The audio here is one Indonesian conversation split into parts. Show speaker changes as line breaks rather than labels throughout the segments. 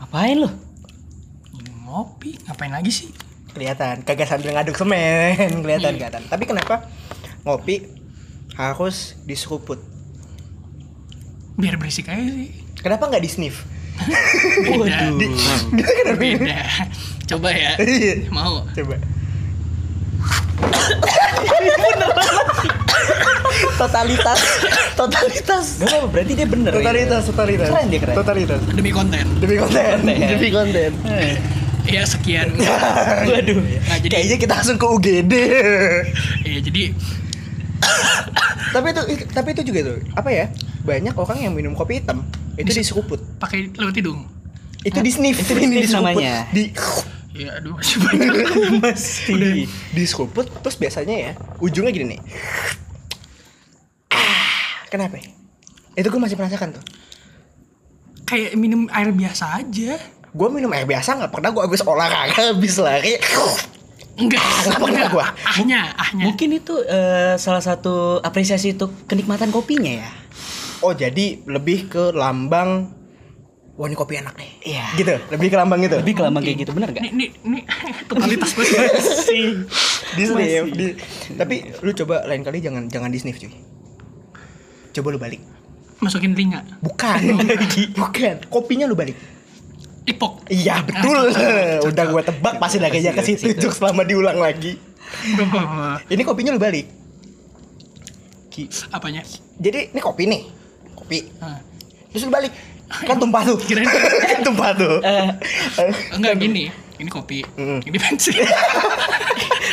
Ngapain lu?
ngopi ngapain lagi sih
Kelihatan kagak sambil ngaduk semen, kelihatan kelihatan. Tapi kenapa ngopi harus diseruput?
biar berisik aja sih
Kenapa nggak di sniff?
beda
Dia kenapa?
beda coba ya
Iya.
mau
Coba.
totalitas totalitas
Gak apa berarti dia bener.
totalitas totalitas
Iya. Keren dia, keren.
totalitas
demi konten
Demi konten.
demi konten
ya sekian
Waduh.
nah jadi
Kayaknya kita langsung ke UGD.
ya jadi
tapi itu tapi itu juga tuh apa ya? Banyak orang yang minum kopi hitam itu diseruput.
pakai lewat hidung
Itu di sniff,
Itu di
ini
sniff
diseruput.
namanya.
Di
ya aduh masih banyak
udah diseruput terus biasanya ya ujungnya gini nih. Ah, Kenapa? ya? Itu gue masih penasaran tuh.
kayak minum air biasa aja
Gue minum air biasa nggak pernah gue habis olahraga, habis lari.
enggak
Nggak pernah
enggak.
gua.
ahnya ahnya
mungkin itu eh, salah satu apresiasi untuk kenikmatan kopinya ya
Oh jadi lebih ke lambang Wah ini kopi enak nih
Iya.
Gitu Lebih ke lambang gitu
lebih kelama kayak gitu bener
ini
gak
ini ini totalitas banget
sih
Di sniff di- Tapi lu coba lain kali jangan jangan di sniff cuy Coba lu balik
masukin telinga
Bukan Bukan Kopinya lu balik
ipok
Iya betul Udah gue tebak pasti lah kayaknya ke
Pasti
situ Jok selama diulang lagi
Gak apa-apa.
Ini kopinya lu balik Ki.
apanya
Jadi ini kopi nih Kopi
Ah.
Terus lu balik Kan tumpah tuh Kan
Kirain-
Tumpah tuh
enggak gini ini kopi
Mm.
ini bensin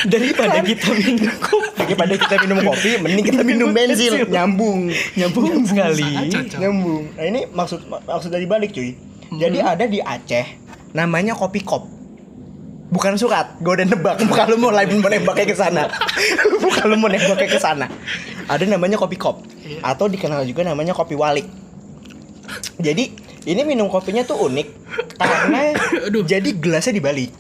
daripada kita minum kopi
Kan. Daripada kita minum kopi, mending kita minum bensin, nyambung, Ah,
nyambung sekali
sangat cocok.
nyambung. Nah ini maksud maksud dari balik cuy. Jadi ada di Aceh, namanya kopi kop. Bukan surat, gue udah nebak. Kalau mau lain mau nembaknya ke sana, kalau mau nembaknya ke sana, ada namanya kopi kop
Iya.
atau dikenal juga namanya kopi walik. Jadi ini minum kopinya tuh unik karena
Aduh.
jadi gelasnya dibalik.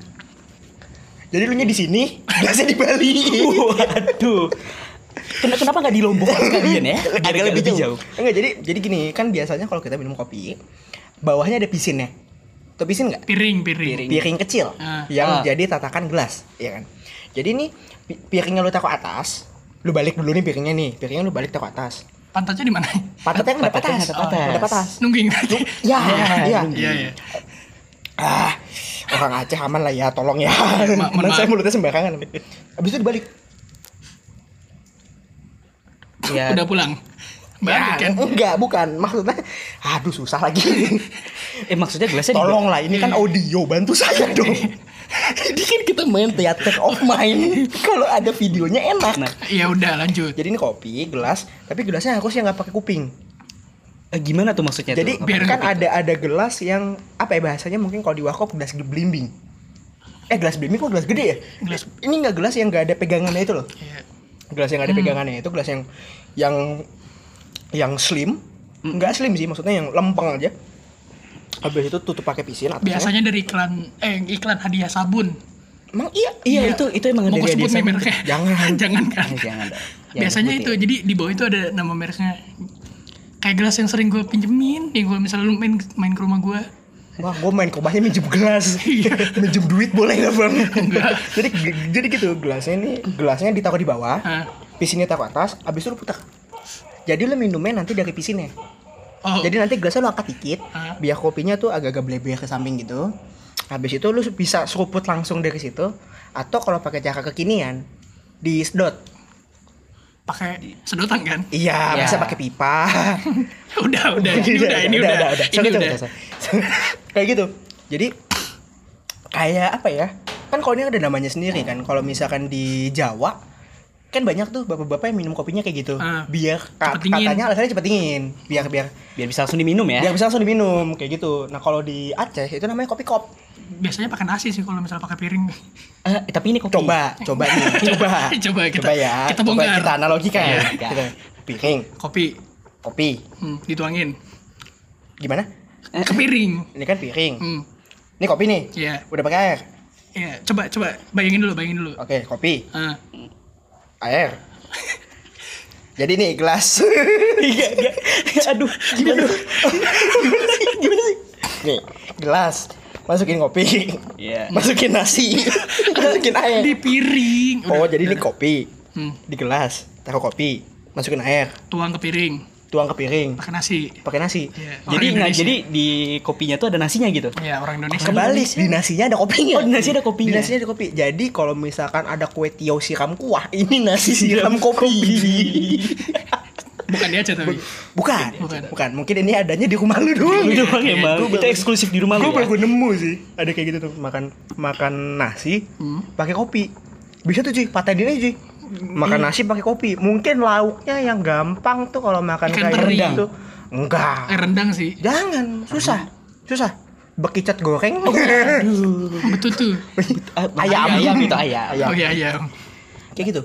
Jadi lu nya di sini, gelasnya dibalik.
waduh Ken- kenapa nggak dilombokan sekalian ya Biar
agak lebih jauh.
jauh.
Enggak, jadi jadi gini, kan biasanya kalau kita minum kopi, bawahnya ada pisinnya. Tuh pisin nggak?
piring piring,
Piring kecil
Ah.
yang
Ah.
jadi tatakan gelas, ya kan? Jadi ini pi- piringnya lu taruh atas, lu balik dulu nih piringnya nih, piringnya lu balik taruh atas.
pantatnya di mana
Pantatnya kan ada
Pantatnya
atas,
ngadep atas.
Ngadep atas.
nungging tadi
Ya, iya.
iya iya
Ah, orang Aceh aman lah ya, tolong ya.
Ma- mohon
Nanti saya
maaf.
mulutnya sembarangan. Abis itu dibalik.
ya
udah pulang balik kan
Ya, Enggak, bukan. Maksudnya, aduh susah lagi.
eh maksudnya gelasnya dibawa-
Tolong lah, ini kan audio, bantu saya dong. Ini kan kita main theater of mind. Kalau ada videonya enak.
Nah.
ya udah lanjut
Jadi ini kopi, gelas, tapi gelasnya harus yang nggak pakai kuping.
Eh, gimana tuh maksudnya
Jadi
tuh?
biar
kan
nggak
ada ada gelas yang apa ya bahasanya mungkin kalau di wakop gelas belimbing. Eh gelas belimbing kok gelas gede ya?
Gelas-
Ini nggak gelas yang nggak ada pegangannya itu loh.
Iya.
Gelas yang nggak ada pegangannya itu gelas yang yang yang slim, nggak slim sih maksudnya yang lempeng aja. Habis itu tutup pakai pisin atasnya.
biasanya dari iklan eh iklan hadiah sabun
Emang iya
iya itu itu emang
mau
dari
gue sebut
Adiasa.
nih mereknya
Jangan.
jangan kan
Eh, jangan dong. Jangan
biasanya
sebut
itu
ya.
jadi di bawah itu ada nama mereknya kayak gelas yang sering gue pinjemin yang gue misalnya lu main main ke rumah gue
Wah, gue main ke rumahnya minjem gelas,
Iya.
minjem duit boleh nggak bang?
Enggak.
jadi jadi gitu gelasnya ini gelasnya ditaruh di bawah,
Hah.
pisinnya taruh atas, abis itu lu putar. Jadi lu minumnya nanti dari pisinnya.
oh
Jadi nanti gelasnya lu angkat dikit,
Hah.
biar kopinya tuh agak-agak bleber ke samping gitu. Habis itu lu bisa seruput langsung dari situ, atau kalau pakai cara kekinian disedot.
pakai sedotan kan
Iya,
Iya.
bisa pakai pipa.
udah udah
Iya,
ini udah ini udah ini
Sorry, sorry,
udah
sorry. kayak gitu jadi kayak apa ya kan kalau ini ada namanya sendiri kan kalau misalkan di Jawa kan banyak tuh bapak-bapak yang minum kopinya kayak gitu
Ah,
biar ka-
cepet dingin.
katanya alasannya cepet dingin biar biar
biar bisa langsung diminum ya
biar bisa langsung diminum kayak gitu nah kalau di Aceh itu namanya kopi kop
biasanya pakai nasi sih kalau misalnya pakai piring
Eh, tapi ini kopi
coba coba nih coba
Coba kita-
ya
kita
coba
bongkar.
kita analogikan
Iya.
Kita- piring
kopi
kopi
hmm, dituangin
gimana
ke piring
ini kan piring
hmm,
ini kopi nih
Iya.
udah pakai air
ya coba coba bayangin dulu bayangin dulu
oke kopi
Ah,
air jadi nih gelas
aduh gimana
nih gelas masukin kopi
Iya.
masukin nasi masukin air
di piring
oh jadi ini kopi
Hmm,
di gelas taruh kopi masukin air
tuang ke piring
tuang ke piring
pakai nasi
pakai nasi
Iya, orang
Jadi nah,
Indonesia.
jadi di kopinya tuh ada nasinya gitu.
Iya,
ya orang Indonesia
kebalik di nasinya ada kopinya
Oh, di nasi ada kopinya.
di nasinya ada kopi jadi kalau misalkan ada kue tiaw siram kuah ini nasi siram kopi
bukan dia aja tapi
bukan
Bukan.
bukan mungkin ini adanya di rumah lu doang
Lu doang ya, Bang.
Gua
Itu
baru-
eksklusif di rumah
gua
lu. ya?
baru nemu sih ada kayak gitu tuh makan makan nasi
Hmm.
pakai kopi bisa tuh cuy patenin aja cuy makan nasi pakai kopi mungkin lauknya yang gampang tuh kalau makan
Ikan
kayak
teri.
gitu enggak
eh, rendang sih
jangan susah susah bekicot goreng
iya. Aduh.
betul tuh
Ah,
Ayam.
ayam itu ayam.
Ayam.
oh iya ayam
kayak gitu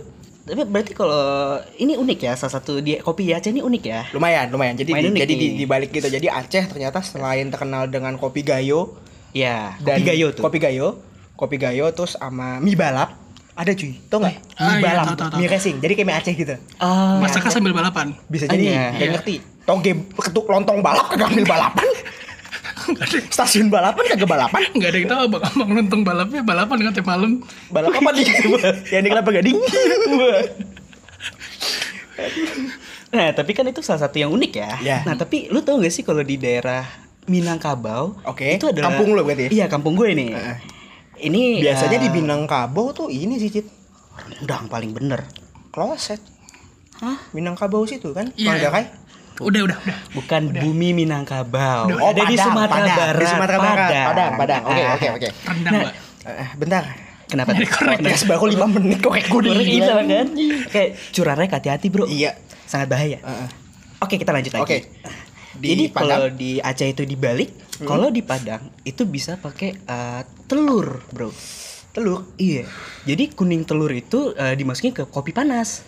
Tapi berarti kalau ini unik ya salah satu dia kopi ya Aceh ini unik ya.
lumayan lumayan jadi di-
Lumayan unik
jadi di,
nih.
dibalik gitu jadi Aceh ternyata selain terkenal dengan kopi gayo
Ya,
dan
kopi gayo tuh.
kopi gayo kopi gayo terus sama mie balap ada cuy tau nggak
Ah,
mie
iya,
balap
tau, tau, tau.
mie racing jadi kayak mie Aceh gitu
Ah,
masaknya kan sambil balapan
bisa
Ah,
jadi
iya.
nggak
Iya.
ngerti toge ketuk lontong balap kagak mie balapan stasiun balapan kagak balapan
nggak ada yang tahu abang abang nonton balapnya balapan kan tiap malam
balap apa nih yang di kelapa gading
Nah, tapi kan itu salah satu yang unik ya.
Ya.
Nah, tapi lu tau gak sih kalau di daerah Minangkabau,
Oke,
itu adalah
kampung lu berarti ya?
Iya, kampung gue nih.
Heeh.
Ini
biasanya di
eh,
Minangkabau tuh ini sih cit
rendang paling bener.
kloset
Hah?
Minangkabau situ kan
Iya.
Manggarai?
udah udah udah
Bukan bumi Minangkabau.
Udah,
Oh,
ada di
Padang,
Sumatera
Padang.
Barat.
Di Sumatera Barat. Padang, Padang. Oke,
Ah.
oke, oke.
rendang
Nah,
mbak
Eh, eh, bentar.
Kenapa? tuh?
Korek.
Podcast baru 5 menit kok gue udah
Korek
gila.
gila kan? Kayak curarek hati-hati, Bro.
Iya.
Sangat bahaya.
Heeh.
Oke, kita lanjut lagi.
Oke. Di
Jadi
Padang. Hmm.
kalau di Aceh itu dibalik, kalau di Padang itu bisa pakai eh, telur, Bro.
Telur.
Iya. Jadi kuning telur itu eh, dimasukin ke kopi panas.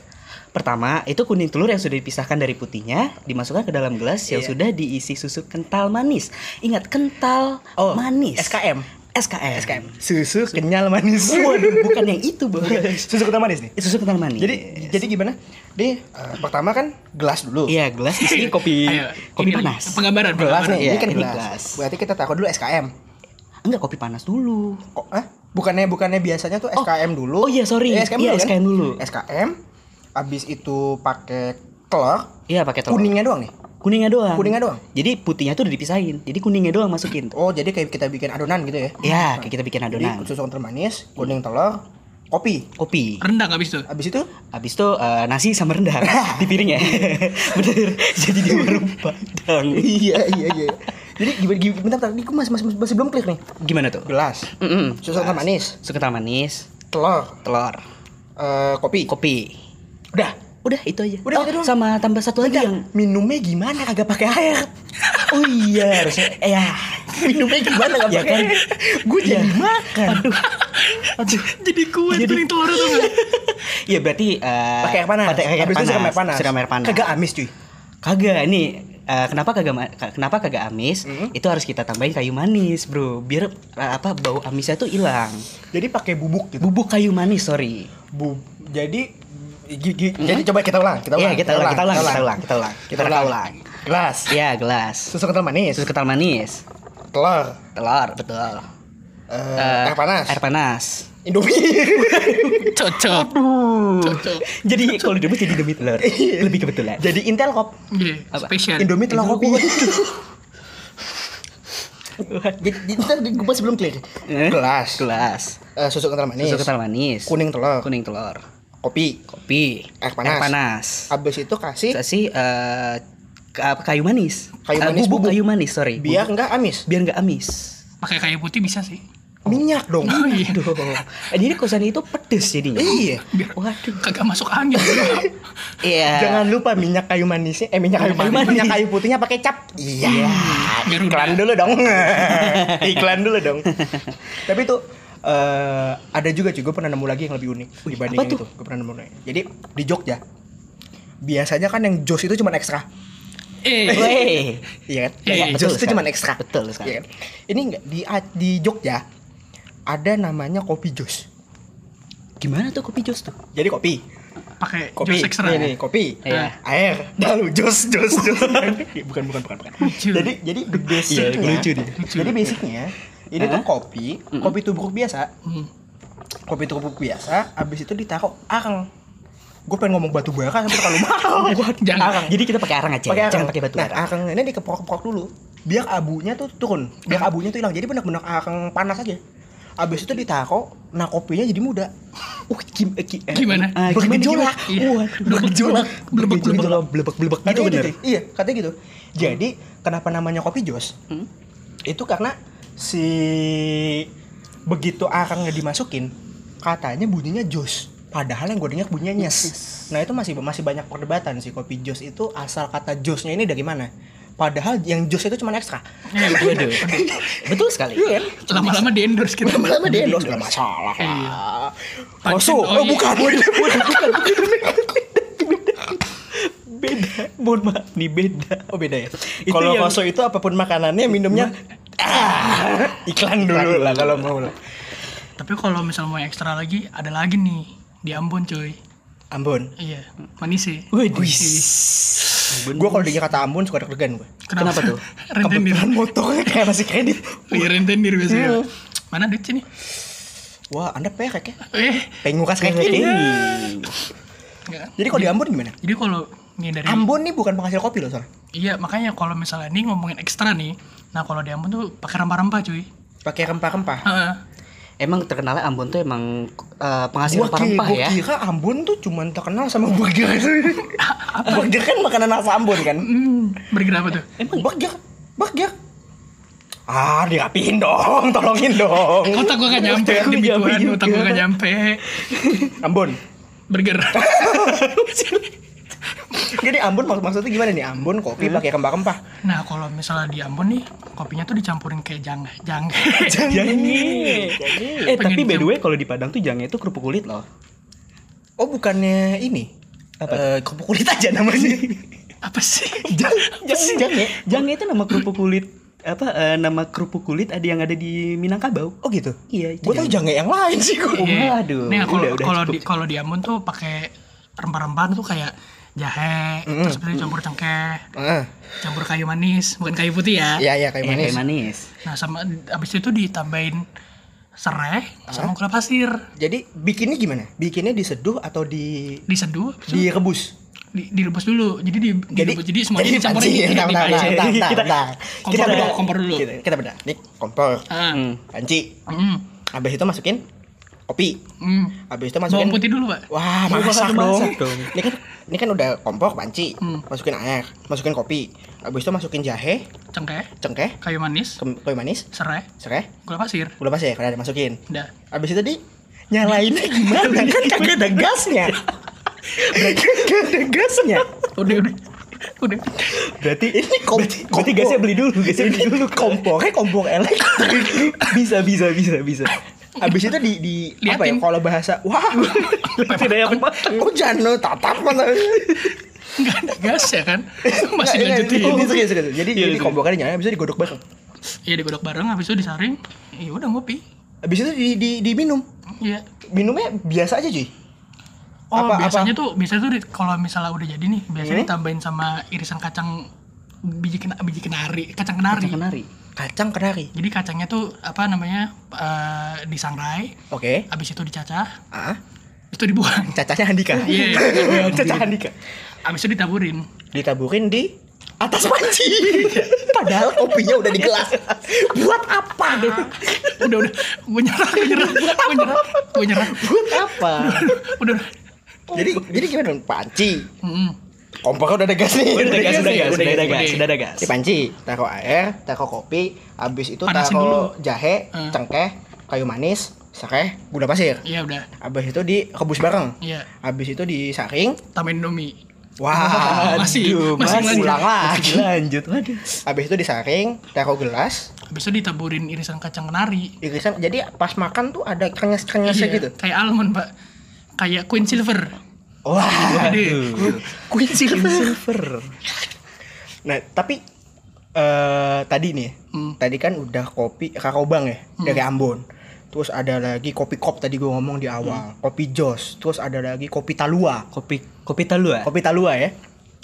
Pertama, itu kuning telur yang sudah dipisahkan dari putihnya dimasukkan ke dalam gelas yang
Iya.
sudah diisi susu kental manis. Ingat kental
Oh,
manis.
SKM.
SKM.
SKM. Susu kenyal manis.
Waduh, bukan yang itu, Bro.
Susu kental manis nih.
susu kental manis.
Jadi jadi gimana? Di eh, pertama kan gelas dulu.
iya, gelas diisi kopi
Ayo, ini
kopi
lagi.
panas.
penggambaran
Gelas
penggambaran.
nih, ini
Iya,
kan
ini
gelas.
gelas.
Berarti kita taruh dulu SKM.
Enggak kopi panas dulu.
Kok eh bukannya bukannya biasanya tuh
Oh.
SKM dulu.
Oh, iya, sorry.
Iya, SKM
Iya,
dulu. kan?
SKM dulu.
SKM abis itu pakai telur.
Iya, pakai telur.
Kuningnya doang nih.
Kuningnya doang.
Kuningnya doang?
Jadi putihnya tuh udah dipisahin. Jadi kuningnya doang masukin. tuh.
Oh, jadi kayak kita bikin adonan gitu ya.
Ya, kayak kita bikin
Jadi
adonan.
susu kental manis, kuning telur, kopi.
Kopi.
rendang habis itu
Abis itu
Habis itu eh, nasi sama rendang di piring ya. Bener. Jadi di warung Padang.
iya iya iya. Jadi gimana gimana bentar, bentar, ini gue masih, masih masih belum klik nih.
Gimana tuh?
Gelas,
Mm-mm.
susu kental manis,
Susu kental manis,
telur,
telur,
eh, kopi.
kopi.
Udah.
Udah itu aja.
Udah,
Oh,
itu doang.
sama tambah satu lagi yang
Minumnya gimana kagak pakai air?
Oh iya, harusnya eh, ya.
Minumnya gimana kagak
Ya
pakai
kan?
air? Gue jadi
Iya.
makan.
Aduh.
jadi kue
Jadi-
kuning telur tuh nggak?
ya berarti eh,
Pakai air panas.
Pakai air
Abis
panas.
itu siram air panas.
Siram air panas.
Kagak amis cuy.
Kagak ini eh, kenapa kagak ma- ka- kenapa kagak amis?
Mm-hmm.
Itu harus kita tambahin kayu manis, Bro. Biar eh, apa bau amisnya tuh hilang.
Jadi pakai bubuk gitu.
Bubuk kayu manis, sorry.
Bu, jadi gi- gi- jadi coba kita ulang, kita ulang.
Hmm? Iya, kita ulang, kita ulang, kita ulang, kita ulang. Kita ulang.
Gelas,
Iya, gelas.
susu kental manis,
Susu kental manis,
telur,
telur, betul.
eh,
Eh,
air panas,
Air panas.
Indomie.
cocok cocok
Jadi kalau direbus jadi demi telur. Lebih kebetulan.
jadi Intel kop.
Iya,
Apa?
spesial
Indomie telur kopi.
Waduh.
jadi jadi ntar gue masih belum clear.
Eh,
Gelas,
Gelas.
eh, susu kental manis,
Susu kental manis.
kuning telur,
Kuning telur.
kopi.
Kopi.
Air panas.
Air panas.
Abis itu kasih
Kasih eh, ka- apa, kayu
Iya.
manis.
Kayu
Eh,
manis,
bubuk,
bubuk.
kayu manis, sorry.
biar
Bubuk.
nggak amis.
biar nggak amis.
pakai kayu putih bisa sih
Minyak dong.
oh iya
Aduh. Eh, Jadi kosan itu pedes jadinya.
Iya.
Biar-
Waduh.
kagak masuk angin
Iya.
Jangan lupa minyak kayu manisnya, eh minyak kayu
Minyak
manis,
kayu
minyak
manis. Hmm.
kayu putihnya pakai cap. Iya.
Garuda.
Iklan dulu dong. Iklan dulu dong. Tapi tuh eh ada juga cuy, gue pernah nemu lagi yang lebih unik
Wih,
dibandingin
apa tuh?
itu. Gue pernah nemu. lagi. Jadi di Jogja biasanya kan yang jos itu cuma ekstra.
eh
Weh.
Iya kan?
Iya,
Yang
iya,
jos
betul
itu
sekali.
cuma ekstra.
Betul sekali.
Iya kan? Ini enggak di di Jogja ada namanya kopi jos.
Gimana tuh kopi jos tuh?
Jadi kopi,
pakai
kopi,
jus ekstra ya?
ya?
nih, nih, kopi, Nah,
Iya.
air, lalu jos, jos, jos. bukan, bukan, bukan, bukan.
Lucu.
Jadi, jadi the
Iya,
basicnya,
lucu dia.
jadi basicnya Ini tuh
Hah?
kopi, kopi tubruk biasa.
Hmm.
Kopi tubruk biasa, abis itu ditaruh arang. Gue pengen ngomong batu bara tapi terlalu mahal.
Jangan.
Jadi kita pakai arang aja. ya?
Pakai arang.
Jangan pakai batu
nah,
bara.
arang ini dikeprok-prok dulu. Biar abunya tuh turun, biar abunya tuh hilang. Jadi benar-benar arang panas aja. Abis itu ditaruh, nah kopinya jadi muda.
Uh, gim- eh, gi- eh,
Gimana?
eh,
Bergejolak.
gimana?
Iya.
Waduh, bergejolak.
Blebek, blebek.
Bergejolak, blebek-blebek gitu
Katanya
bener.
Cuy. Iya, katanya gitu. Jadi, kenapa namanya kopi jos?
Hmm.
Itu karena si begitu arangnya dimasukin, katanya bunyinya jos. Padahal yang gue dengar bunyinya nyes. Nah, itu masih masih banyak perdebatan sih kopi jos itu asal kata josnya ini dari mana. Padahal yang jos itu cuma ekstra.
Iya,
Waduh. Betul sekali.
Iya kan?
Lama-lama di endorse kita.
Lama-lama dia endorse gak masalah
Iya.
lah.
Tangsin,
Masuk,
oh
oh,
iya.
bukan.
Beda. Mohon maaf nih beda.
Oh beda ya.
Itu
Kalau
yang-
koso itu apapun makanannya, minumnya ah, iklan dulu lah kalau mau lah.
Tapi kalau misalnya mau ekstra lagi, ada lagi nih di Ambon coy.
Ambon.
Iya, manis sih.
Wih,
Gue kalau dengar kata Ambon suka deg-degan gue.
Kenapa tuh?
rentenir.
Kebetulan motornya kayak masih kredit.
Iya, rentenir biasanya.
Iya.
Mana duit sini?
Wah, anda perek ya?
Eh,
Pengen ngukas kayak gini.
enggak.
Jadi kalau di Ambon gimana?
Jadi kalau nih dari
Ambon nih bukan penghasil kopi loh, Sor.
Iya, makanya kalau misalnya ini ngomongin ekstra nih. Nah, kalau di Ambon tuh pakai rempah-rempah cuy.
Pakai rempah-rempah.
Heeh.
Emang terkenalnya Ambon tuh emang eh, penghasil
Gua kira,
rempah-rempah
gua
ya.
kira Ambon tuh cuman terkenal sama burger. burger kan makanan asal Ambon kan?
Hmm, bergerak apa tuh?
Emang burger, burger. Ah, dirapihin dong, tolongin dong.
Otak gua gak nyampe,
Otak gua
demi
nyampe
Tuhan, otak gua
juga.
gak nyampe.
Ambon.
Burger.
Jadi Ambon mak- maksudnya gimana nih? Ambon kopi pakai rempah-rempah.
nah, kalau misalnya di Ambon nih, kopinya tuh dicampurin kayak jangga, jangga.
Iya, Ya
Jange. Eh
Pengen
tapi by the
jam-
way kalau di Padang tuh jange itu kerupuk kulit loh.
Oh, bukannya ini? Apa? kerupuk kulit aja namanya.
apa sih?
Jangan, jangan ya.
Jange itu nama kerupuk kulit apa eh, nama kerupuk kulit ada yang ada di Minangkabau.
Oh gitu.
Iya, itu
Gue tau jangan yang lain sih gue.
Iya.
waduh.
Nih, kalau
Udah, udah,
kalau
cukup,
di kalau di Ambon tuh pakai rempah-rempahan tuh kayak jahe, terus habis itu campur cengkeh,
Ah,
campur kayu manis, bukan kayu putih ya.
iya iya kayak manis.
Kayak manis. manis.
Nah, sama abis itu ditambahin serai sama gula pasir,
Jadi bikinnya gimana? Bikinnya diseduh atau di
diseduh, habis itu
direbus?
di, direbus dulu. Jadi di
Jadi
direbus. jadi semuanya
jadi
dicampurin
panci,
di-
Tang,
di-
tang,
di-
tang, tang, tang, tang.
Kompor
Kita
dulu,
bedah.
kompor dulu.
Kita, kita bedah. Nih kompor,
Ah.
Hmm.
panci.
Mm.
Abis itu masukin kopi.
Mm.
Abis itu
Bawang
masukin
putih dulu, Pak.
Wah,
Gua
masak
bakal
dong.
masak dong.
Ini kan ini kan udah kompor, panci.
Hmm.
Masukin air, masukin kopi. Abis itu masukin jahe,
Cengkeh,
cengkeh,
kayu manis,
kem- kayu manis,
serai,
serai,
gula pasir.
gula pasir kalau ada masukin.
Udah.
Abis itu di nyalainnya gimana? kan kagak ada gasnya. Kagak ada gasnya.
Udah, udah. Udah.
Berarti
Ini kom berarti,
berarti gasnya beli dulu, gasnya beli dulu.
Kompornya kompor elektrik.
bisa bisa bisa bisa.
Abis itu di di apa
Liatin.
ya kalau bahasa wah
Tidak ya apa?
hujan lo tatap mata.
Enggak ada gas ya kan? Masih
Nggak, nggak,
lanjutin.
itu serius, serius. Jadi
Iya,
jadi
serius.
kombokannya nyala bisa digodok bareng.
Iya digodok bareng habis itu disaring. Iya udah ngopi.
Habis itu di, di, diminum.
Iya.
Minumnya biasa aja, cuy.
Oh,
Apa- Hmm?
biasanya tuh biasanya tuh di- kalau misalnya udah jadi nih, biasanya ditambahin sama irisan kacang biji kena biji kenari, kacang kenari.
Kacang kenari.
Kacang kenari.
Jadi kacangnya tuh apa namanya? eh, disangrai,
Oke.
habis itu dicacah,
Ah,
habis itu dibuang.
cacahnya Handika.
Iya, iya.
Cacah Handika.
Habis itu ditaburin.
Ditaburin di atas panci. Padahal kopinya udah di gelas. Buat apa?
Udah udah gue nyerah, gue nyerah, gue nyerah, gue nyerah.
Buat apa?
Udah udah.
Oh, jadi jadi gimana dong? Panci.
Mm-mm.
Kompornya udah ada gas nih.
Udah ada gas, udah
nih.
ada gas,
Oh,
udah ada
gas,
gas,
udah
udah ada gas.
Di panci, taruh air, taruh kopi, habis itu
Panasin
taruh
dulu.
jahe,
Hmm.
cengkeh, kayu manis, serai, gula pasir.
Iya udah.
Abis itu direbus bareng.
Iya.
Abis itu disaring.
Tambahin Indomie.
Wah,
Masih, masih lanjut.
ulang lagi.
Lanjut. Waduh.
Abis itu disaring, taruh gelas,
Habis itu ditaburin irisan kacang kenari.
irisan. Jadi pas makan tuh ada krenyes-krenyesnya
Iya,
gitu.
Kayak almond, Pak. Kayak Queen Silver.
Wah,
Waduh.
Queen
Iya.
Silver.
Silver.
Nah, tapi eh tadi nih,
Hmm.
tadi kan udah kopi Kakobang ya dari Ambon. Terus ada lagi kopi kop tadi gue ngomong di awal, kopi jos, terus ada lagi kopi talua.
Kopi kopi talua.
Kopi talua ya.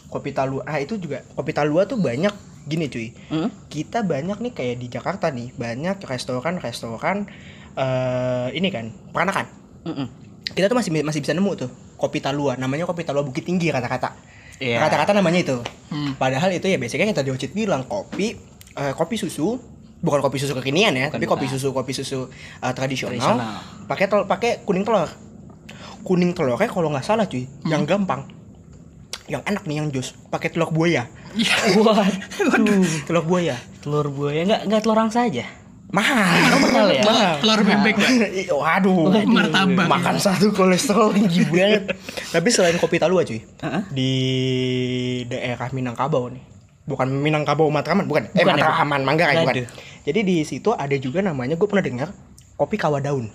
Kopi talua. Ah, itu juga kopi talua tuh banyak gini cuy
Hmm?
kita banyak nih kayak di Jakarta nih banyak restoran-restoran eh ini kan peranakan
Mm-mm.
kita tuh masih masih bisa nemu tuh kopi talua namanya kopi talua Bukit Tinggi kata-kata
Iya.
kata-kata namanya itu
Hmm.
padahal itu ya basically yang tadi Ocit bilang kopi eh, kopi susu bukan kopi susu kekinian ya tapi kopi susu kopi susu eh, tradisional
Tradisional.
pakai telur pakai kuning telur kuning telurnya kalau nggak salah cuy yang gampang yang enak nih yang jus pakai telur buaya
Iya.
Waduh.
telur buaya
Telur buaya nggak nggak telur angsa aja.
mahal
Mahal ya.
mahal
Telur bebek, Pak.
Ih, Waduh,
Waduh. Martabak.
Makan satu kolesterol tinggi banget. Tapi selain kopi talua cuy,
Heeh.
di daerah Minangkabau nih. Bukan Minangkabau Matraman, bukan. eh
Bukan ya, Bu?
Matraman Manggarai bukan.
Waduh.
Jadi di situ ada juga namanya gue pernah dengar kopi kawa daun.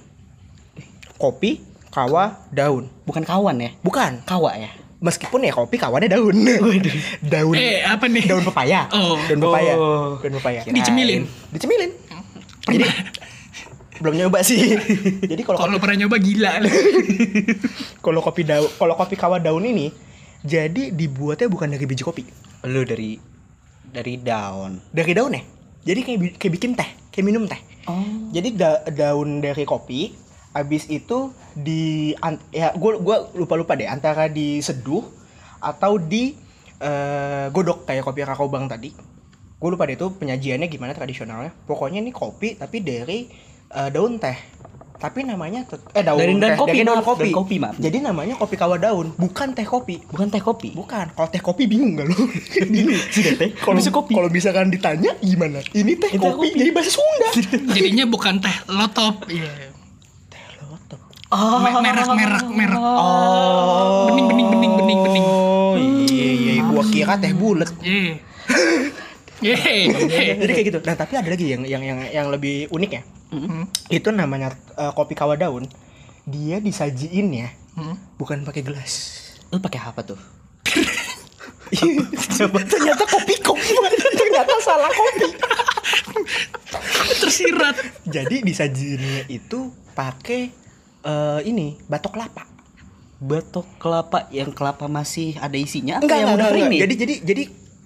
Kopi kawa daun.
Bukan kawan ya.
Bukan.
Kawa ya.
Meskipun ya kopi kawannya daun. daun.
Eh, apa nih?
Daun pepaya.
Oh.
Daun pepaya.
Oh.
Daun pepaya.
Dicemilin.
Dicemilin. Jadi belum nyoba sih. Jadi kalau
Kalau pernah nyoba gila.
kalau kopi daun kalau kopi kawa daun ini jadi dibuatnya bukan dari biji kopi
Lu dari dari daun.
dari daun ya jadi kayak bi- kayak bikin teh kayak minum teh
Oh.
jadi da- daun dari kopi abis itu di an- ya gue gua lupa lupa deh antara diseduh atau di eh, godok kayak kopi rakobang tadi gue lupa deh itu penyajiannya gimana tradisionalnya pokoknya ini kopi tapi dari eh, daun teh tapi namanya tet- eh daun
Dari daun
teh,
kopi,
dari daun
maaf,
kopi.
daun kopi, maaf.
jadi namanya kopi kawa daun bukan teh kopi
Bukan teh kopi.
Bukan, kalau teh kopi bingung gak lu? bingung.
Sudah teh,
Kalau
habis itu kopi.
Kalau misalkan ditanya gimana? Ini teh
Ini teh
kopi,
kopi.
jadi bahasa Sunda.
Jadinya bukan teh lotop. Iya.
Oh.
Me- Merek, merek, merek.
Oh.
Bening, bening, bening, bening, bening.
Ah.
Oh, iya iya
Hmm.
gua kira teh bulat.
Iya. Iya.
Jadi kayak gitu. Nah, tapi ada lagi yang yang yang yang lebih unik ya.
Hmm.
Itu namanya eh, kopi kawa daun. Dia disajiin ya,
Hmm.
bukan pakai gelas.
Lu pakai apa tuh?
ternyata kopi kopi ternyata salah kopi
Tersirat.
jadi disajiinnya itu pakai eh, ini batok kelapa
Batok kelapa yang kelapa masih ada isinya apa
enggak,
yang
enggak,
udah
enggak,
kering nih?
Jadi jadi jadi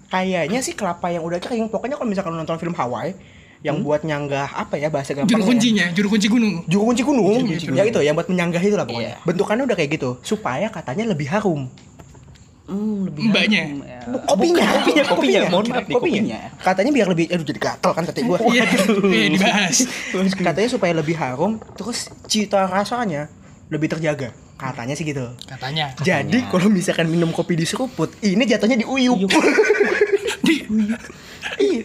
kayaknya sih kelapa yang udah kering. Pokoknya kalau misalkan lu nonton film Hawaii yang buat nyanggah apa ya bahasa
Hmm?
gampangnya
Juru
ya?
kuncinya, juru kunci gunung.
Juru kunci gunung.
Juru kunci
Ya itu yang buat menyanggah itu lah pokoknya.
Iya.
Bentukannya udah kayak gitu supaya katanya lebih harum.
Hmm, lebih
Mbaknya.
harum, ya.
Kopinya,
kopinya, kopinya. Mohon maaf nih,
kopinya.
kopinya.
Katanya biar lebih aduh jadi gatel kan tadi gua.
Iya, iya, dibahas.
katanya supaya lebih harum terus cita rasanya lebih terjaga. Katanya sih gitu.
Katanya.
Jadi kalau misalkan minum kopi diseruput, ini jatuhnya diuyup.
Iya. Di,
Iya.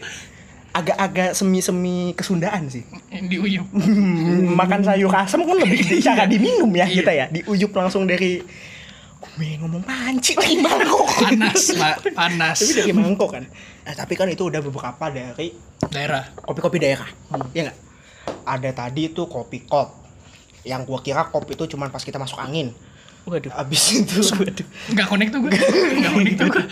Agak-agak semi-semi kesundaan sih.
di uyup.
Hmm, Makan sayur asem kan lebih di- cara diminum
Iya.
ya kita ya. Diuyup langsung dari gue ngomong panci lagi mangkok.
Panas, Pak. Panas.
tapi dari mangkok kan. Nah, tapi kan itu udah beberapa dari
Daerah.
kopi-kopi daerah.
Hmm.
Iya nggak? Ada tadi itu kopi kop. Yang gua kira kopi itu cuman pas kita masuk angin.
Waduh.
Abis itu
Nggak connect tuh gue. Nggak connect tuh gue.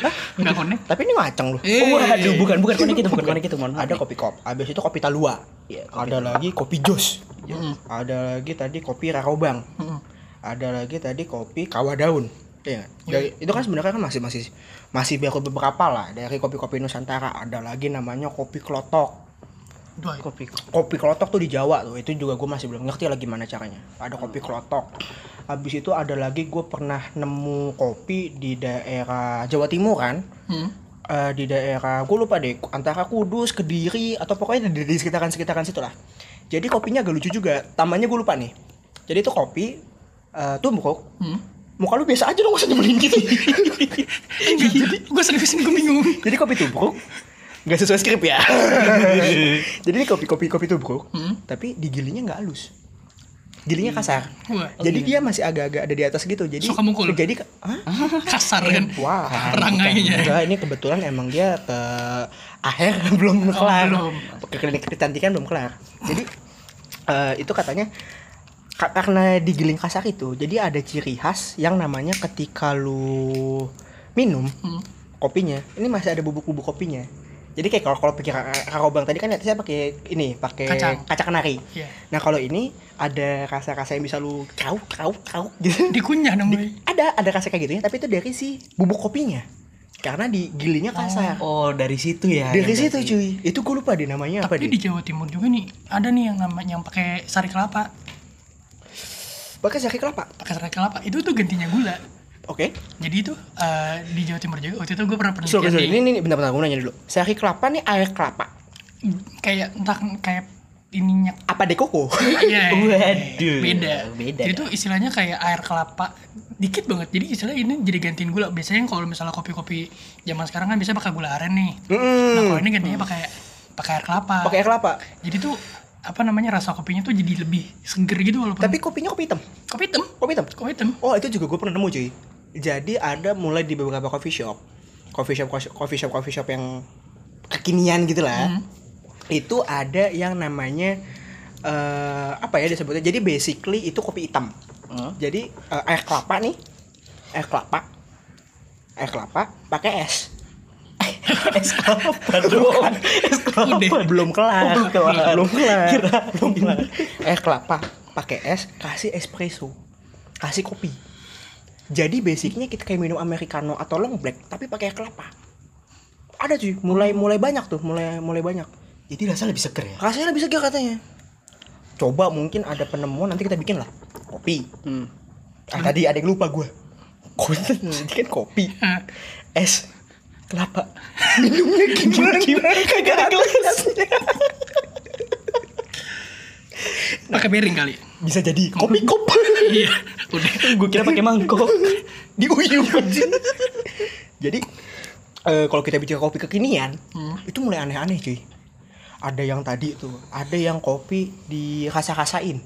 Nggak connect.
Tapi ini ngaceng loh.
Eh.
Oh, waduh,
Iya.
bukan bukan konek
gitu,
itu, bukan konek itu, mohon maaf. Iya,
Ada kopi kop, abis itu kopi talua. ada lagi kopi jos.
Mm.
Ada lagi tadi kopi rakobang.
Mm.
Ada lagi tadi kopi kawa daun. Iya, nggak? dari, itu kan sebenarnya kan masih masih masih baru beberapa lah dari kopi-kopi Nusantara. Ada lagi namanya kopi klotok.
Dua.
kopi
Kopi klotok tuh di Jawa tuh, itu juga gue masih belum ngerti lah gimana caranya. Ada kopi klotok. Habis itu ada lagi gue pernah nemu kopi di daerah Jawa Timur kan.
Mm.
Eh, di daerah gue lupa deh antara Kudus, Kediri atau pokoknya di, di sekitaran sekitaran situ lah. Jadi kopinya agak lucu juga. Tamannya gue lupa nih. Jadi itu kopi eh tumbuk.
Mm.
Muka lu biasa aja dong gak usah nyebelin gitu.
Enggak, gue serius ini gue bingung.
Jadi kopi tubruk nggak sesuai skrip ya. Jadi ini kopi kopi kopi tubruk,
Hmm.
tapi digilinya nggak halus. Gilinya kasar.
Wah. oh iya.
Jadi dia masih agak-agak ada di atas gitu. Jadi
Suka mukul.
Jadi hah?
Kasar kan.
Wah,
Perangainya.
Enggak, ini kebetulan emang dia ke akhir belum kelar.
Oh, belum.
Ke klinik kecantikan belum kelar. Jadi eh, itu katanya ka- karena digiling kasar itu, jadi ada ciri khas yang namanya ketika lu minum
Hmm.
kopinya, ini masih ada bubuk-bubuk kopinya. Jadi kayak kalau kalau pikir Bang tadi kan saya pakai ini, pakai
Kacang.
kaca kenari.
Iya.
Nah, kalau ini ada rasa-rasa yang bisa lu kau kau kau gitu
Dikunyah dong gue.
ya, ada ada rasa kayak gitunya tapi itu dari si bubuk kopinya karena di gilinya kasar.
Oh, dari situ ya.
Dari
yang
situ
berarti.
cuy, itu gue lupa deh namanya apa
Tapi di
deh.
Jawa Timur juga nih ada nih yang namanya yang pakai sari kelapa,
Pakai sari kelapa.
pakai sari kelapa itu tuh gantinya gula.
Oke.
Jadi itu eh, di Jawa Timur juga waktu itu gue pernah penelitian
Sorry, sorry.
di-
Ini, ini bentar-bentar gue nanya dulu. Sari kelapa nih air kelapa.
kayak entah kayak ininya
Apa dekoko?
Iya.
Waduh.
Beda.
Beda.
Jadi itu istilahnya kayak air kelapa dikit banget. Jadi istilah ini jadi gantiin gula. Biasanya kalau misalnya kopi-kopi zaman sekarang kan biasanya pakai gula aren nih. Nah, kalau ini gantinya pakai pakai air kelapa.
Pakai air kelapa.
Jadi tuh apa namanya rasa kopinya tuh jadi lebih seger gitu walaupun
Tapi kopinya kopi hitam.
kopi hitam.
Kopi hitam.
Kopi hitam.
Oh itu juga gue pernah nemu cuy. Jadi ada mulai di beberapa coffee shop, coffee shop coffee shop coffee shop yang kekinian gitu lah. Itu ada yang namanya eh apa ya disebutnya? Jadi basically itu kopi hitam.
Hmm.
Jadi eh, air kelapa nih, air kelapa, air kelapa pakai es.
Es kelapa dong. Es kelapa.
Udah, belum kelar,
Oh, belum kelar.
belum kelar,
Kira-
belum kelar. Air kelapa pakai es, kasih espresso, kasih kopi. Jadi basicnya kita kayak minum americano atau long black tapi pakai air kelapa. Ada cuy, mulai mulai banyak tuh, mulai mulai banyak.
Jadi rasa lebih seger ya.
Rasanya lebih segar katanya. Coba mungkin ada penemuan nanti kita bikin lah kopi. Ah, tadi ada yang lupa gue. Tadi kan kopi,
Nah,
es, kelapa. Minumnya gimana? gimana? Kagak ada gelasnya.
Pakai piring kali.
Bisa jadi kopi kop.
Iya. Udah.
Gue kira pakai mangkok.
Diuyum anjing. jadi eh, kalau kita bicara kopi kekinian, itu mulai aneh-aneh cuy. Ada yang tadi tuh, ada yang kopi dirasa-rasain.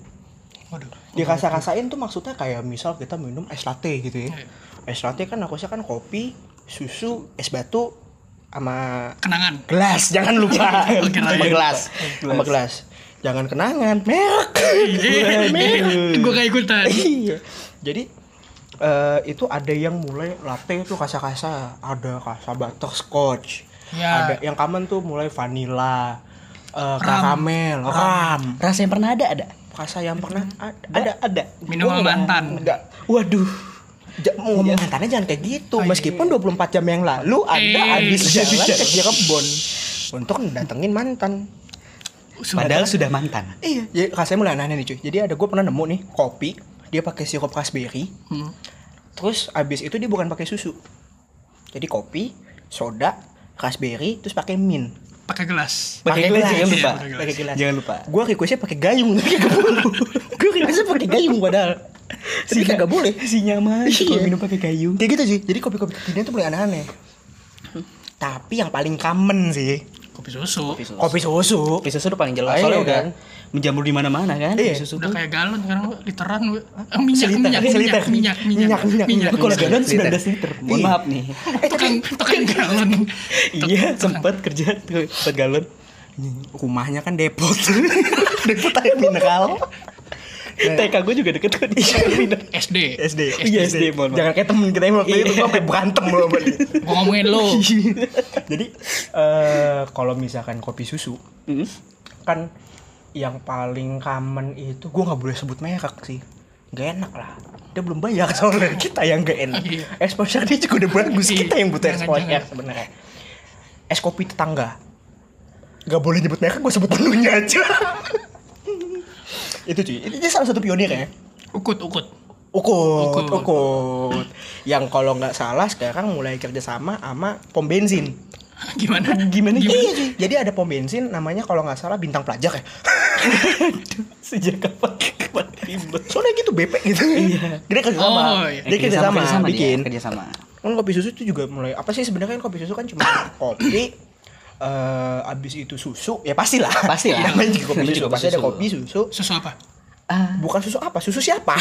Waduh.
Dirasa-rasain tuh maksudnya kayak misal kita minum es latte gitu ya.
Iya.
Es latte kan harusnya kan kopi, susu, es batu, sama
Kenangan.
gelas jangan lupa
Oh, kenangan.
sama gelas sama gelas jangan kenangan merek
Iya.
Merek.
Gue kayak ikutan.
Iya. jadi eh, itu ada yang mulai latte itu kasa-kasa ada kasa butterscotch
Ya.
ada yang common tuh mulai vanilla eh,
Ram.
karamel ram
Rasa yang pernah ada ada.
kasa yang pernah ada ada, ada.
Minum
Gua
sama
nggak-
mantan.
nggak
Waduh.
Ja- ngomong mantannya jangan kayak gitu meskipun 24 jam yang lalu anda
Eh.
habis jalan ke Cirebon untuk datengin mantan
Sudah.
Padahal sudah mantan.
iya jadi rasanya mulai aneh nih cuy jadi ada gue pernah nemu nih kopi dia pakai sirup raspberry
Hmm.
terus abis itu dia bukan pakai susu jadi kopi soda raspberry terus pakai mint
Pakai gelas.
Pakai gelas jangan lupa.
Pakai gelas.
pakai gelas
Jangan lupa.
gue requestnya pakai gayung gue requestnya pakai gayung padahal tapi
Sinya-
kagak boleh
Si nyaman
Iya.
kalau minum pakai gayung.
kayak gitu sih jadi kopi-kopi kekinian tuh mulai aneh-aneh tapi yang paling common sih
Kopi susu.
susu.
kopi susu
Kopi susu udah paling jelas.
Ah, iya
Soalnya udah
kan?
menjamur di mana-mana kan.
Iya.
Kopi susu
udah
tuh.
kayak galon sekarang gua literan gua. Eh, minyak,
Seliter,
minyak,
seliter.
minyak, minyak, minyak,
Minyak, minyak,
Tapi kalau
Iya.
galon
Liter.
19 liter. Mohon
Iya.
maaf nih.
Eh, tukang, tukang galon. Tuk-
Iya, sempat kerja tuh sempat galon.
rumahnya kan depot depot air mineral
TK gue juga deket kok di Minang.
SD.
Eh. Iya. SD
Iya, SD, mohon maaf. Iya.
jangan kayak temen kita yang waktu itu gue sampai berantem loh sama dia.
Gua ngomongin lo.
Iya. jadi eh kalau misalkan kopi susu
Hmm.
kan yang paling common itu gue nggak boleh sebut merek sih gak enak lah dia belum bayar soalnya kita yang gak enak
Iya.
exposure dia juga udah bagus
Iya.
kita yang butuh
Jangan,
exposure
jangan.
sebenarnya es kopi tetangga gak boleh nyebut merek gue sebut menunya aja itu cuy itu dia salah satu pionir ya
Ukut, ukut.
Ukut,
Ukut.
ukut. Yang kalau nggak salah sekarang mulai kerjasama sama pom bensin.
Gimana?
Gimana?
Iya, cuy. jadi ada pom bensin namanya kalau nggak salah bintang pelajar ya.
Sejak kapan kapan tiba?
Soalnya gitu BP gitu.
Iya.
Dia kerjasama.
Oh, iya.
Dia kerjasama, bikin.
Kerja sama.
Kan kopi susu itu juga mulai apa sih sebenarnya kan kopi susu kan cuma kopi eh abis itu susu ya pastilah
Pastilah.
namanya juga kopi
Namanya
susu
juga
pasti ada
susu.
kopi susu
Susu apa?
bukan susu apa susu siapa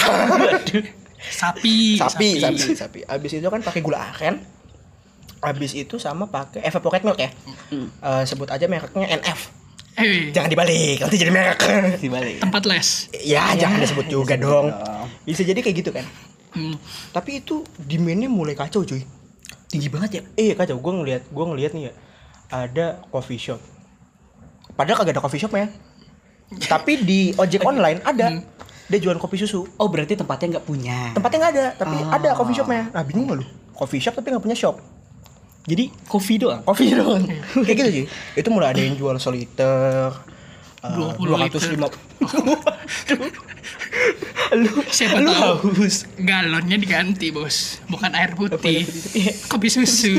Sapi.
sapi sapi sapi abis itu kan pakai gula aren abis itu sama pakai evaporate milk ya Eh, sebut aja mereknya NF
Eh,
jangan dibalik nanti jadi merek
Dibalik.
tempat les.
ya, jangan disebut juga
disebut
dong
dong.
bisa jadi kayak gitu kan
Hmm.
tapi itu demandnya mulai kacau cuy
Tinggi banget ya.
iya kacau gue ngelihat gue ngelihat nih ya ada coffee shop padahal kagak ada coffee shop ya tapi di ojek online ada dia jualan kopi susu
Oh berarti tempatnya nggak punya.
tempatnya nggak ada tapi
Ah.
ada coffee shopnya nah bingung gak lu coffee shop tapi nggak punya shop
Jadi kopi doang.
Kopi doang. Oh,
Iya.
Kayak gitu sih. Itu mulai ada yang jual soliter. eh,
20 liter. Siapa
Lu
tahu
haus.
galonnya diganti bos, bukan air putih, kopi susu.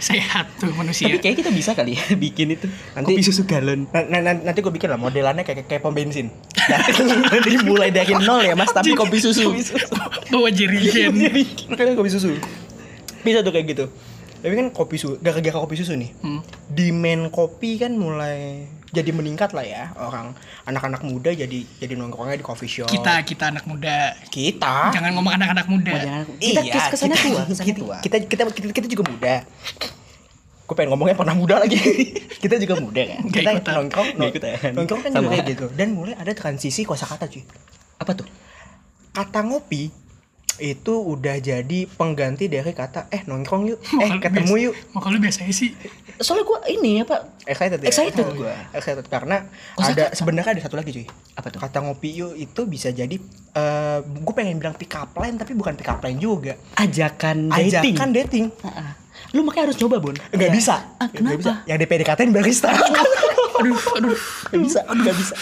Sehat tuh
Tapi
Iya.
manusia.
kayak kita bisa kali ya bikin itu.
Nanti-
kopi susu galon.
nanti, nanti gue bikin lah modelannya kayak kayak pom bensin. Nanti mulai dari nol ya mas, tapi kopi susu.
Kopi susu.
Bawa
Iya,
jerigen.
Iya. Makanya Kan kopi susu. Bisa tuh kayak gitu. Tapi kan kopi susu, gara-gara kopi susu nih.
Hmm.
Demand kopi kan mulai jadi meningkat lah ya orang anak-anak muda jadi jadi nongkrongnya di coffee shop.
Kita kita anak muda.
kita
Jangan ngomong anak-anak muda.
Oh, jangan. Kita
Iya,
kes- kesana
kita-
tua, kesana
kita,
tua.
Kita, kita kita kita juga muda. Gue pengen ngomongnya pernah muda lagi. kita juga muda kan.
Nggak
Kita
ikutan.
nongkrong,
Nggak ikutan.
nongkrong kan
Sama.
juga kayak gitu. Dan mulai ada transisi kosakata cuy.
Apa tuh?
Kata ngopi itu udah jadi pengganti dari kata eh nongkrong yuk, eh
Muka lu
ketemu
biasa-
yuk.
Muka lu biasanya sih
Soalnya gua ini apa?
Excited ya.
Excited
gue.
gua.
Excited karena ada
Kosakata.
sebenarnya ada satu lagi cuy.
Apa tuh?
Kata ngopi yuk itu bisa jadi eh gue pengen bilang pick up line tapi bukan pick up line juga.
Ajakan dating.
Ajakan dating.
Heeh. Lu makanya harus coba, Bon.
Nggak
Iya.
bisa.
Ah,
Nggak bisa.
kenapa?
Yang di PDKT -in barista.
aduh aduh.
Nggak bisa. Nggak bisa.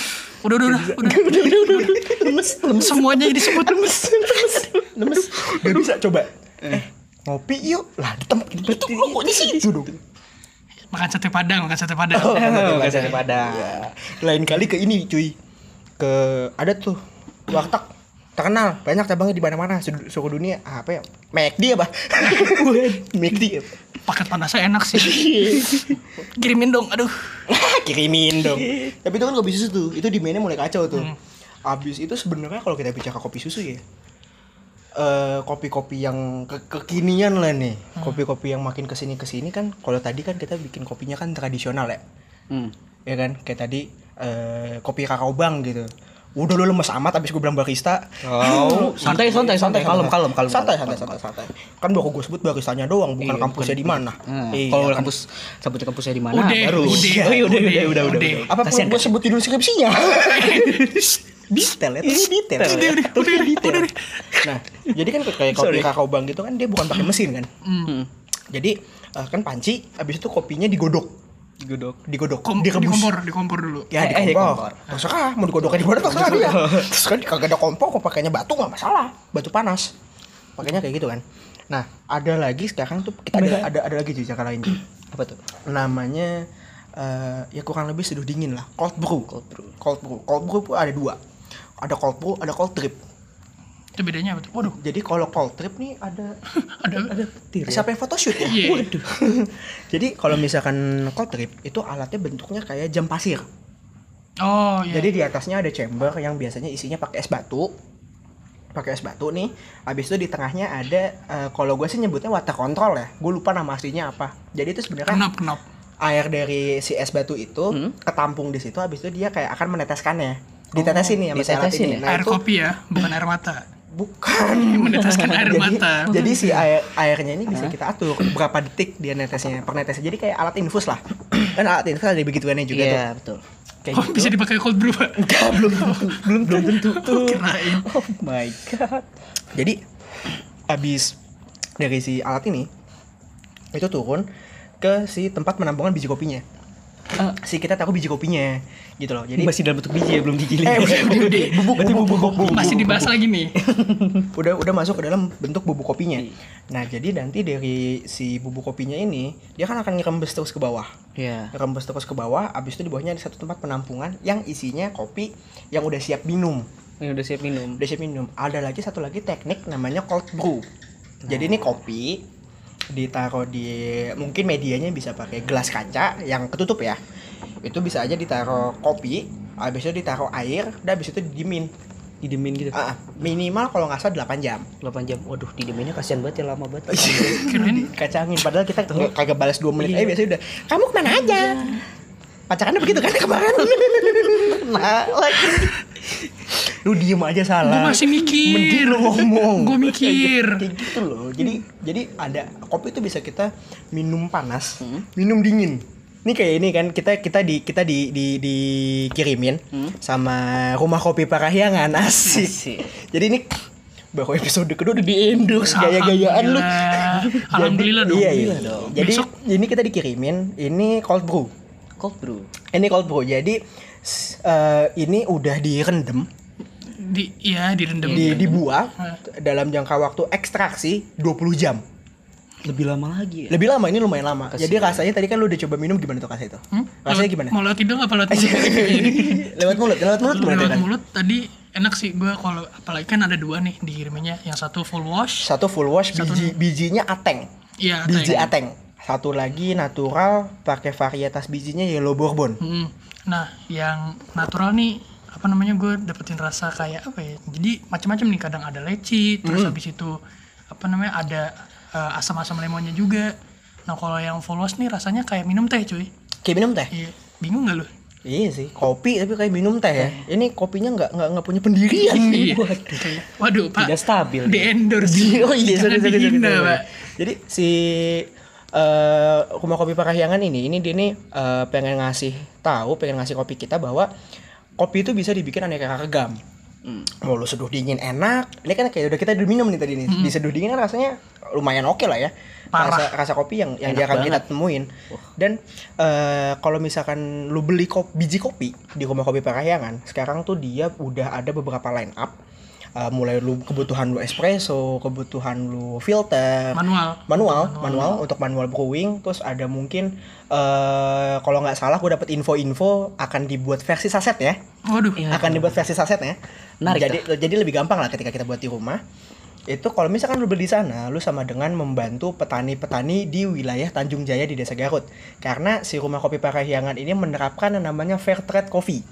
Udah udah udah. udah.
Udah, udah, udah, udah. Lemes, lemes,
Semuanya disebut
lemes, lemes, lemes. Nggak bisa. Coba. Eh, ngopi yuk. Lah, di tempat di tempat- di situ dong.
makan sate padang, makan sate padang.
Oh,
Nggak
nggak
bisa.
bisa pada. Lain kali ke ini, cuy. Ke ada tuh warteg terkenal banyak cabangnya di mana-mana sedu- seluruh dunia apa ya McD apa McD apa?
Paket panasnya enak sih. Kirimin dong, aduh.
kirimin dong tapi itu kan kopi susu tuh itu di mainnya mulai kacau tuh abis itu sebenarnya kalau kita bicara kopi susu ya eh, kopi-kopi yang ke- kekinian lah nih kopi-kopi yang makin kesini kesini kan kalau tadi kan kita bikin kopinya kan tradisional ya
Hmm.
ya kan kayak tadi eh, kopi kakao bang gitu udah lu lemes amat abis gue bilang barista
Oh, santai, santai, santai, kalem, kalem, kalem.
santai
kalem,
santai
kalem.
santai santai kan baru gue sebut baristanya doang bukan
Iya,
kampusnya
bukan-
di mana
Hmm.
Iya,
Kalau
kan.
kampus sebut kampusnya di mana
Udah,
baru.
udah,
Oh, iya, udah, udah, udah, udah.
udah.
udah. kan?
apa perlu
Kasihan,
gue
kasihan.
sebut judul skripsinya detail ya tapi detail
Detail
ya.
ya.
Tapi detail. nah jadi kan kayak kopi
Sorry.
kakao bang gitu kan dia bukan pakai mesin kan
Hmm.
jadi eh, kan panci abis itu kopinya digodok
Godok.
digodok
Kom di
direbus
kompor, di kompor dulu.
ya
Eh, eh,
di
di
kompor
kompor.
terserah mau digodoknya di mana terserah dia terus kan kagak ada kompor kok pakainya batu nggak masalah batu panas pakainya kayak gitu kan nah ada lagi sekarang tuh kita ada ada, ada lagi juga lain cuy.
Apa tuh?
namanya eh, ya kurang lebih seduh dingin lah cold brew cold brew cold brew cold brew tuh ada dua ada cold brew ada cold trip
Itu bedanya apa tuh? Waduh,
jadi kalau cold trip nih ada
ada
petir.
siapa yang photoshoot ya
Iya.
waduh jadi kalau misalkan cold trip itu alatnya bentuknya kayak jam pasir
Oh, iya.
jadi di atasnya ada chamber yang biasanya isinya pakai es batu pakai es batu nih habis itu di tengahnya ada eh, kalau gue sih nyebutnya water control ya gue lupa nama aslinya apa jadi itu sebenarnya
kenop, kenop.
air dari si es batu itu
Hmm?
ketampung di situ habis itu dia kayak akan meneteskannya ditetesin nih sama si alat
Oh, ditetesin
ini
ya?
nah
air
itu
kopi ya, bukan air mata.
bukan
Meneteskan air
jadi,
mata.
jadi si air airnya ini
Ah.
bisa kita atur berapa detik dia netesnya per netesnya jadi kayak alat infus lah kan alat infus ada begituannya juga
Iya,
tuh
betul.
kayak
gitu.
gitu.
Oh, bisa dipakai cold brew, Pak.
Enggak, belum tentu belum belum tentu tuh
Kirain.
oh my god jadi habis dari si alat ini itu turun ke si tempat penampungan biji kopinya
Ah.
si kita taruh biji kopinya gitu loh jadi
Masih dalam bentuk biji ya, belum digiling.
Eh, udah, udah, udah. Bubuk,
Berarti
bubuk,
bubuk,
bubuk.
bubuk.
Masih dibahas lagi nih.
udah udah masuk ke dalam bentuk bubuk kopinya. Nah, jadi nanti dari si bubuk kopinya ini, dia kan akan ngerembes terus ke bawah.
Iya.
Ngerembes terus ke bawah, abis itu di bawahnya ada satu tempat penampungan yang isinya kopi yang udah siap minum.
Ini udah siap minum.
Udah siap minum. Ada lagi satu lagi teknik namanya cold brew. Jadi ini kopi ditaruh di mungkin medianya bisa pakai gelas kaca yang ketutup ya. Itu bisa aja ditaruh kopi, abis itu ditaruh air, dan abis itu didiemin.
Didemin gitu.
Ah, minimal kalau nggak salah 8 jam.
8 jam. Waduh, dideminnya kasihan banget ya, lama banget.
Iya.
Kirain
dikacangin padahal kita Iya. nggak- kagak balas 2 menit eh biasanya udah kamu kemana aja pacarannya begitu kan kemarin nah lagi lu diem aja
gue
salah
masih mikir.
mending lu ngomong
Gue mikir.
kayak gitu loh jadi jadi ada kopi itu bisa kita minum panas
Hmm.
minum dingin ini kayak ini kan kita kita di kita di di
Hmm.
dikirimin sama rumah kopi Parahyangan asik.
Asik.
Jadi ini bahwa episode kedua udah diendorse gaya-gayaan lu.
Alhamdulillah. Alhamdulillah dong.
Iya, iya dong. Jadi
Besok
ini kita dikirimin, ini cold brew.
Cold brew.
Ini cold brew. Jadi s- eh, ini udah direndam,
di iya direndam.
di, dibuang
Hah.
dalam jangka waktu ekstraksi 20 jam.
Lebih lama
Iya.
lagi ya.
Lebih lama ini lumayan lama.
Kasih.
Jadi rasanya tadi kan lu udah coba minum gimana tuh rasanya itu?
Hmm?
Rasanya
Lewat-
gimana?
Mau lewat hidung apa lewat mulut?
lewat mulut, lewat mulut kan? gimana
lewat
Dan?
mulut tadi enak sih gue kalau apalagi kan ada dua nih dikiriminnya. Yang satu full wash.
Satu full wash
Satu
biji bijinya ateng.
Iya. ateng.
Biji ateng. Satu lagi natural pakai varietas bijinya yellow bourbon.
Hmm. Nah, yang natural nih apa namanya gue dapetin rasa kayak apa ya? Jadi macam-macam nih kadang ada leci, terus habis itu apa namanya ada eh, asam-asam lemonnya juga. Nah kalau yang full wash nih rasanya kayak minum teh cuy.
Kayak minum teh.
Iya, bingung nggak lu?
Iya sih, kopi tapi kayak minum teh ya. Ini kopinya nggak nggak nggak punya pendirian nih.
Iya. Waduh pak.
Tidak stabil.
Di endorse.
Oh iya, sorry, sorry, sorry,
dihina,
sorry.
pak.
Jadi si eh, rumah kopi Parahyangan ini, ini dia nih eh, pengen ngasih tahu, pengen ngasih kopi kita bahwa kopi itu bisa dibikin aneka ragam.
Hmm.
Mau lu seduh dingin enak. Ini kan kayak udah kita udah minum nih tadi nih. Diseduh dingin kan rasanya lumayan oke lah ya.
Parah.
Rasa, rasa kopi yang yang jarang kita temuin. Dan eh, kalau misalkan lu beli kop- biji kopi di rumah kopi Parahyangan, sekarang tuh dia udah ada beberapa line up. Eh, mulai lu kebutuhan lu espresso, kebutuhan lu filter,
Manual.
manual, manual untuk manual brewing terus ada mungkin eh kalau nggak salah gue dapet info-info akan dibuat versi saset ya
Waduh.
akan dibuat versi saset ya
Menarik
jadi jadi lebih gampang lah ketika kita buat di rumah itu kalau misalkan lu beli di sana lu sama dengan membantu petani-petani di wilayah Tanjung Jaya di Desa Garut karena si rumah kopi Parahyangan ini menerapkan yang namanya fair trade coffee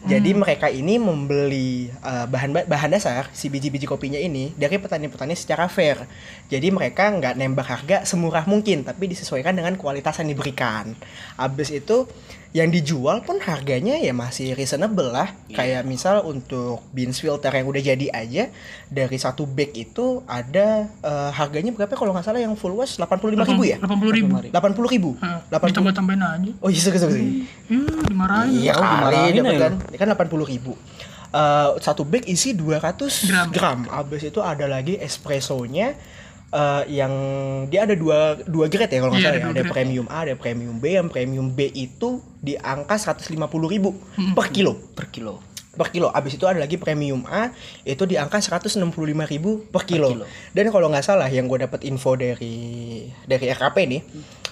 jadi mereka ini membeli eh, bahan bahan dasar si biji-biji kopinya ini dari petani-petani secara fair. Jadi mereka nggak nembak harga semurah mungkin, tapi disesuaikan dengan kualitas yang diberikan. Habis itu yang dijual pun harganya ya masih reasonable lah. Kayak misal untuk beans filter yang udah jadi aja dari satu bag itu ada eh, harganya berapa kalau nggak salah yang full wash 85.000 ya?
80 ribu. Hmm.
80.000. 80.000.
Ditambah-tambahin aja.
Oh, iya, sorry, sorry, sorry.
Hmm, dimarahin.
Iya
Oh,
kali
dimarahin
dapat
ya.
kan. Ini kan 80 ribu. Eh, satu bag isi 200 gram.
Gram.
Abis itu ada lagi espressonya eh, yang dia ada dua dua grade ya kalau nggak
Iya,
salah.
ada
ya.
dua
Ada
grade.
premium A, ada premium B. Yang premium B itu di angka 150 ribu
Hmm.
per kilo.
Per kilo.
Per kilo. Abis itu ada lagi premium A itu di angka 165 ribu per kilo.
kilo.
Dan kalau nggak salah yang gue dapat info dari dari RKP nih.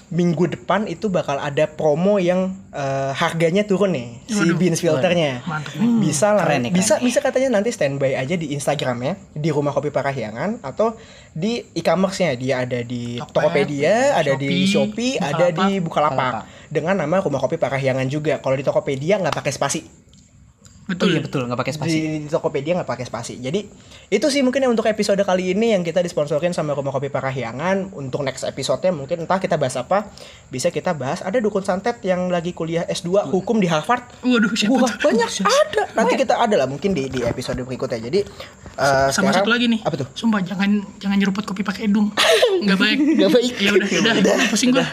Minggu depan itu bakal ada promo yang eh, harganya turun nih si
Waduh.
beans filternya
Mantep nih.
bisa lah
Keren nih,
bisa
keren nih.
bisa katanya nanti standby aja di Instagramnya di rumah kopi Parahyangan atau di e-commerce-nya dia ada di
Tokped,
Tokopedia ada di
Shopee,
Shopee ada di Bukalapak
Bukalapak.
dengan nama rumah kopi Parahyangan juga kalau di Tokopedia nggak pakai spasi
Oh
Betul.
iya betul nggak pakai spasi.
di, di Tokopedia nggak pakai spasi jadi itu sih mungkin yang untuk episode kali ini yang kita disponsorin sama rumah kopi Parahyangan untuk next episode-nya mungkin entah kita bahas apa bisa kita bahas ada dukun santet yang lagi kuliah S2 hukum di Harvard
Waduh, siapa
Wah
tuh?
banyak Ah, ada. Nanti kita ada lah mungkin di di episode berikutnya. Jadi eh,
Sama
sekarang-
satu lagi nih.
Apa tuh?
Sumpah jangan jangan nyeruput kopi pakai hidung. Enggak baik.
Gak baik.
Ya udah, udah. Pusing gua.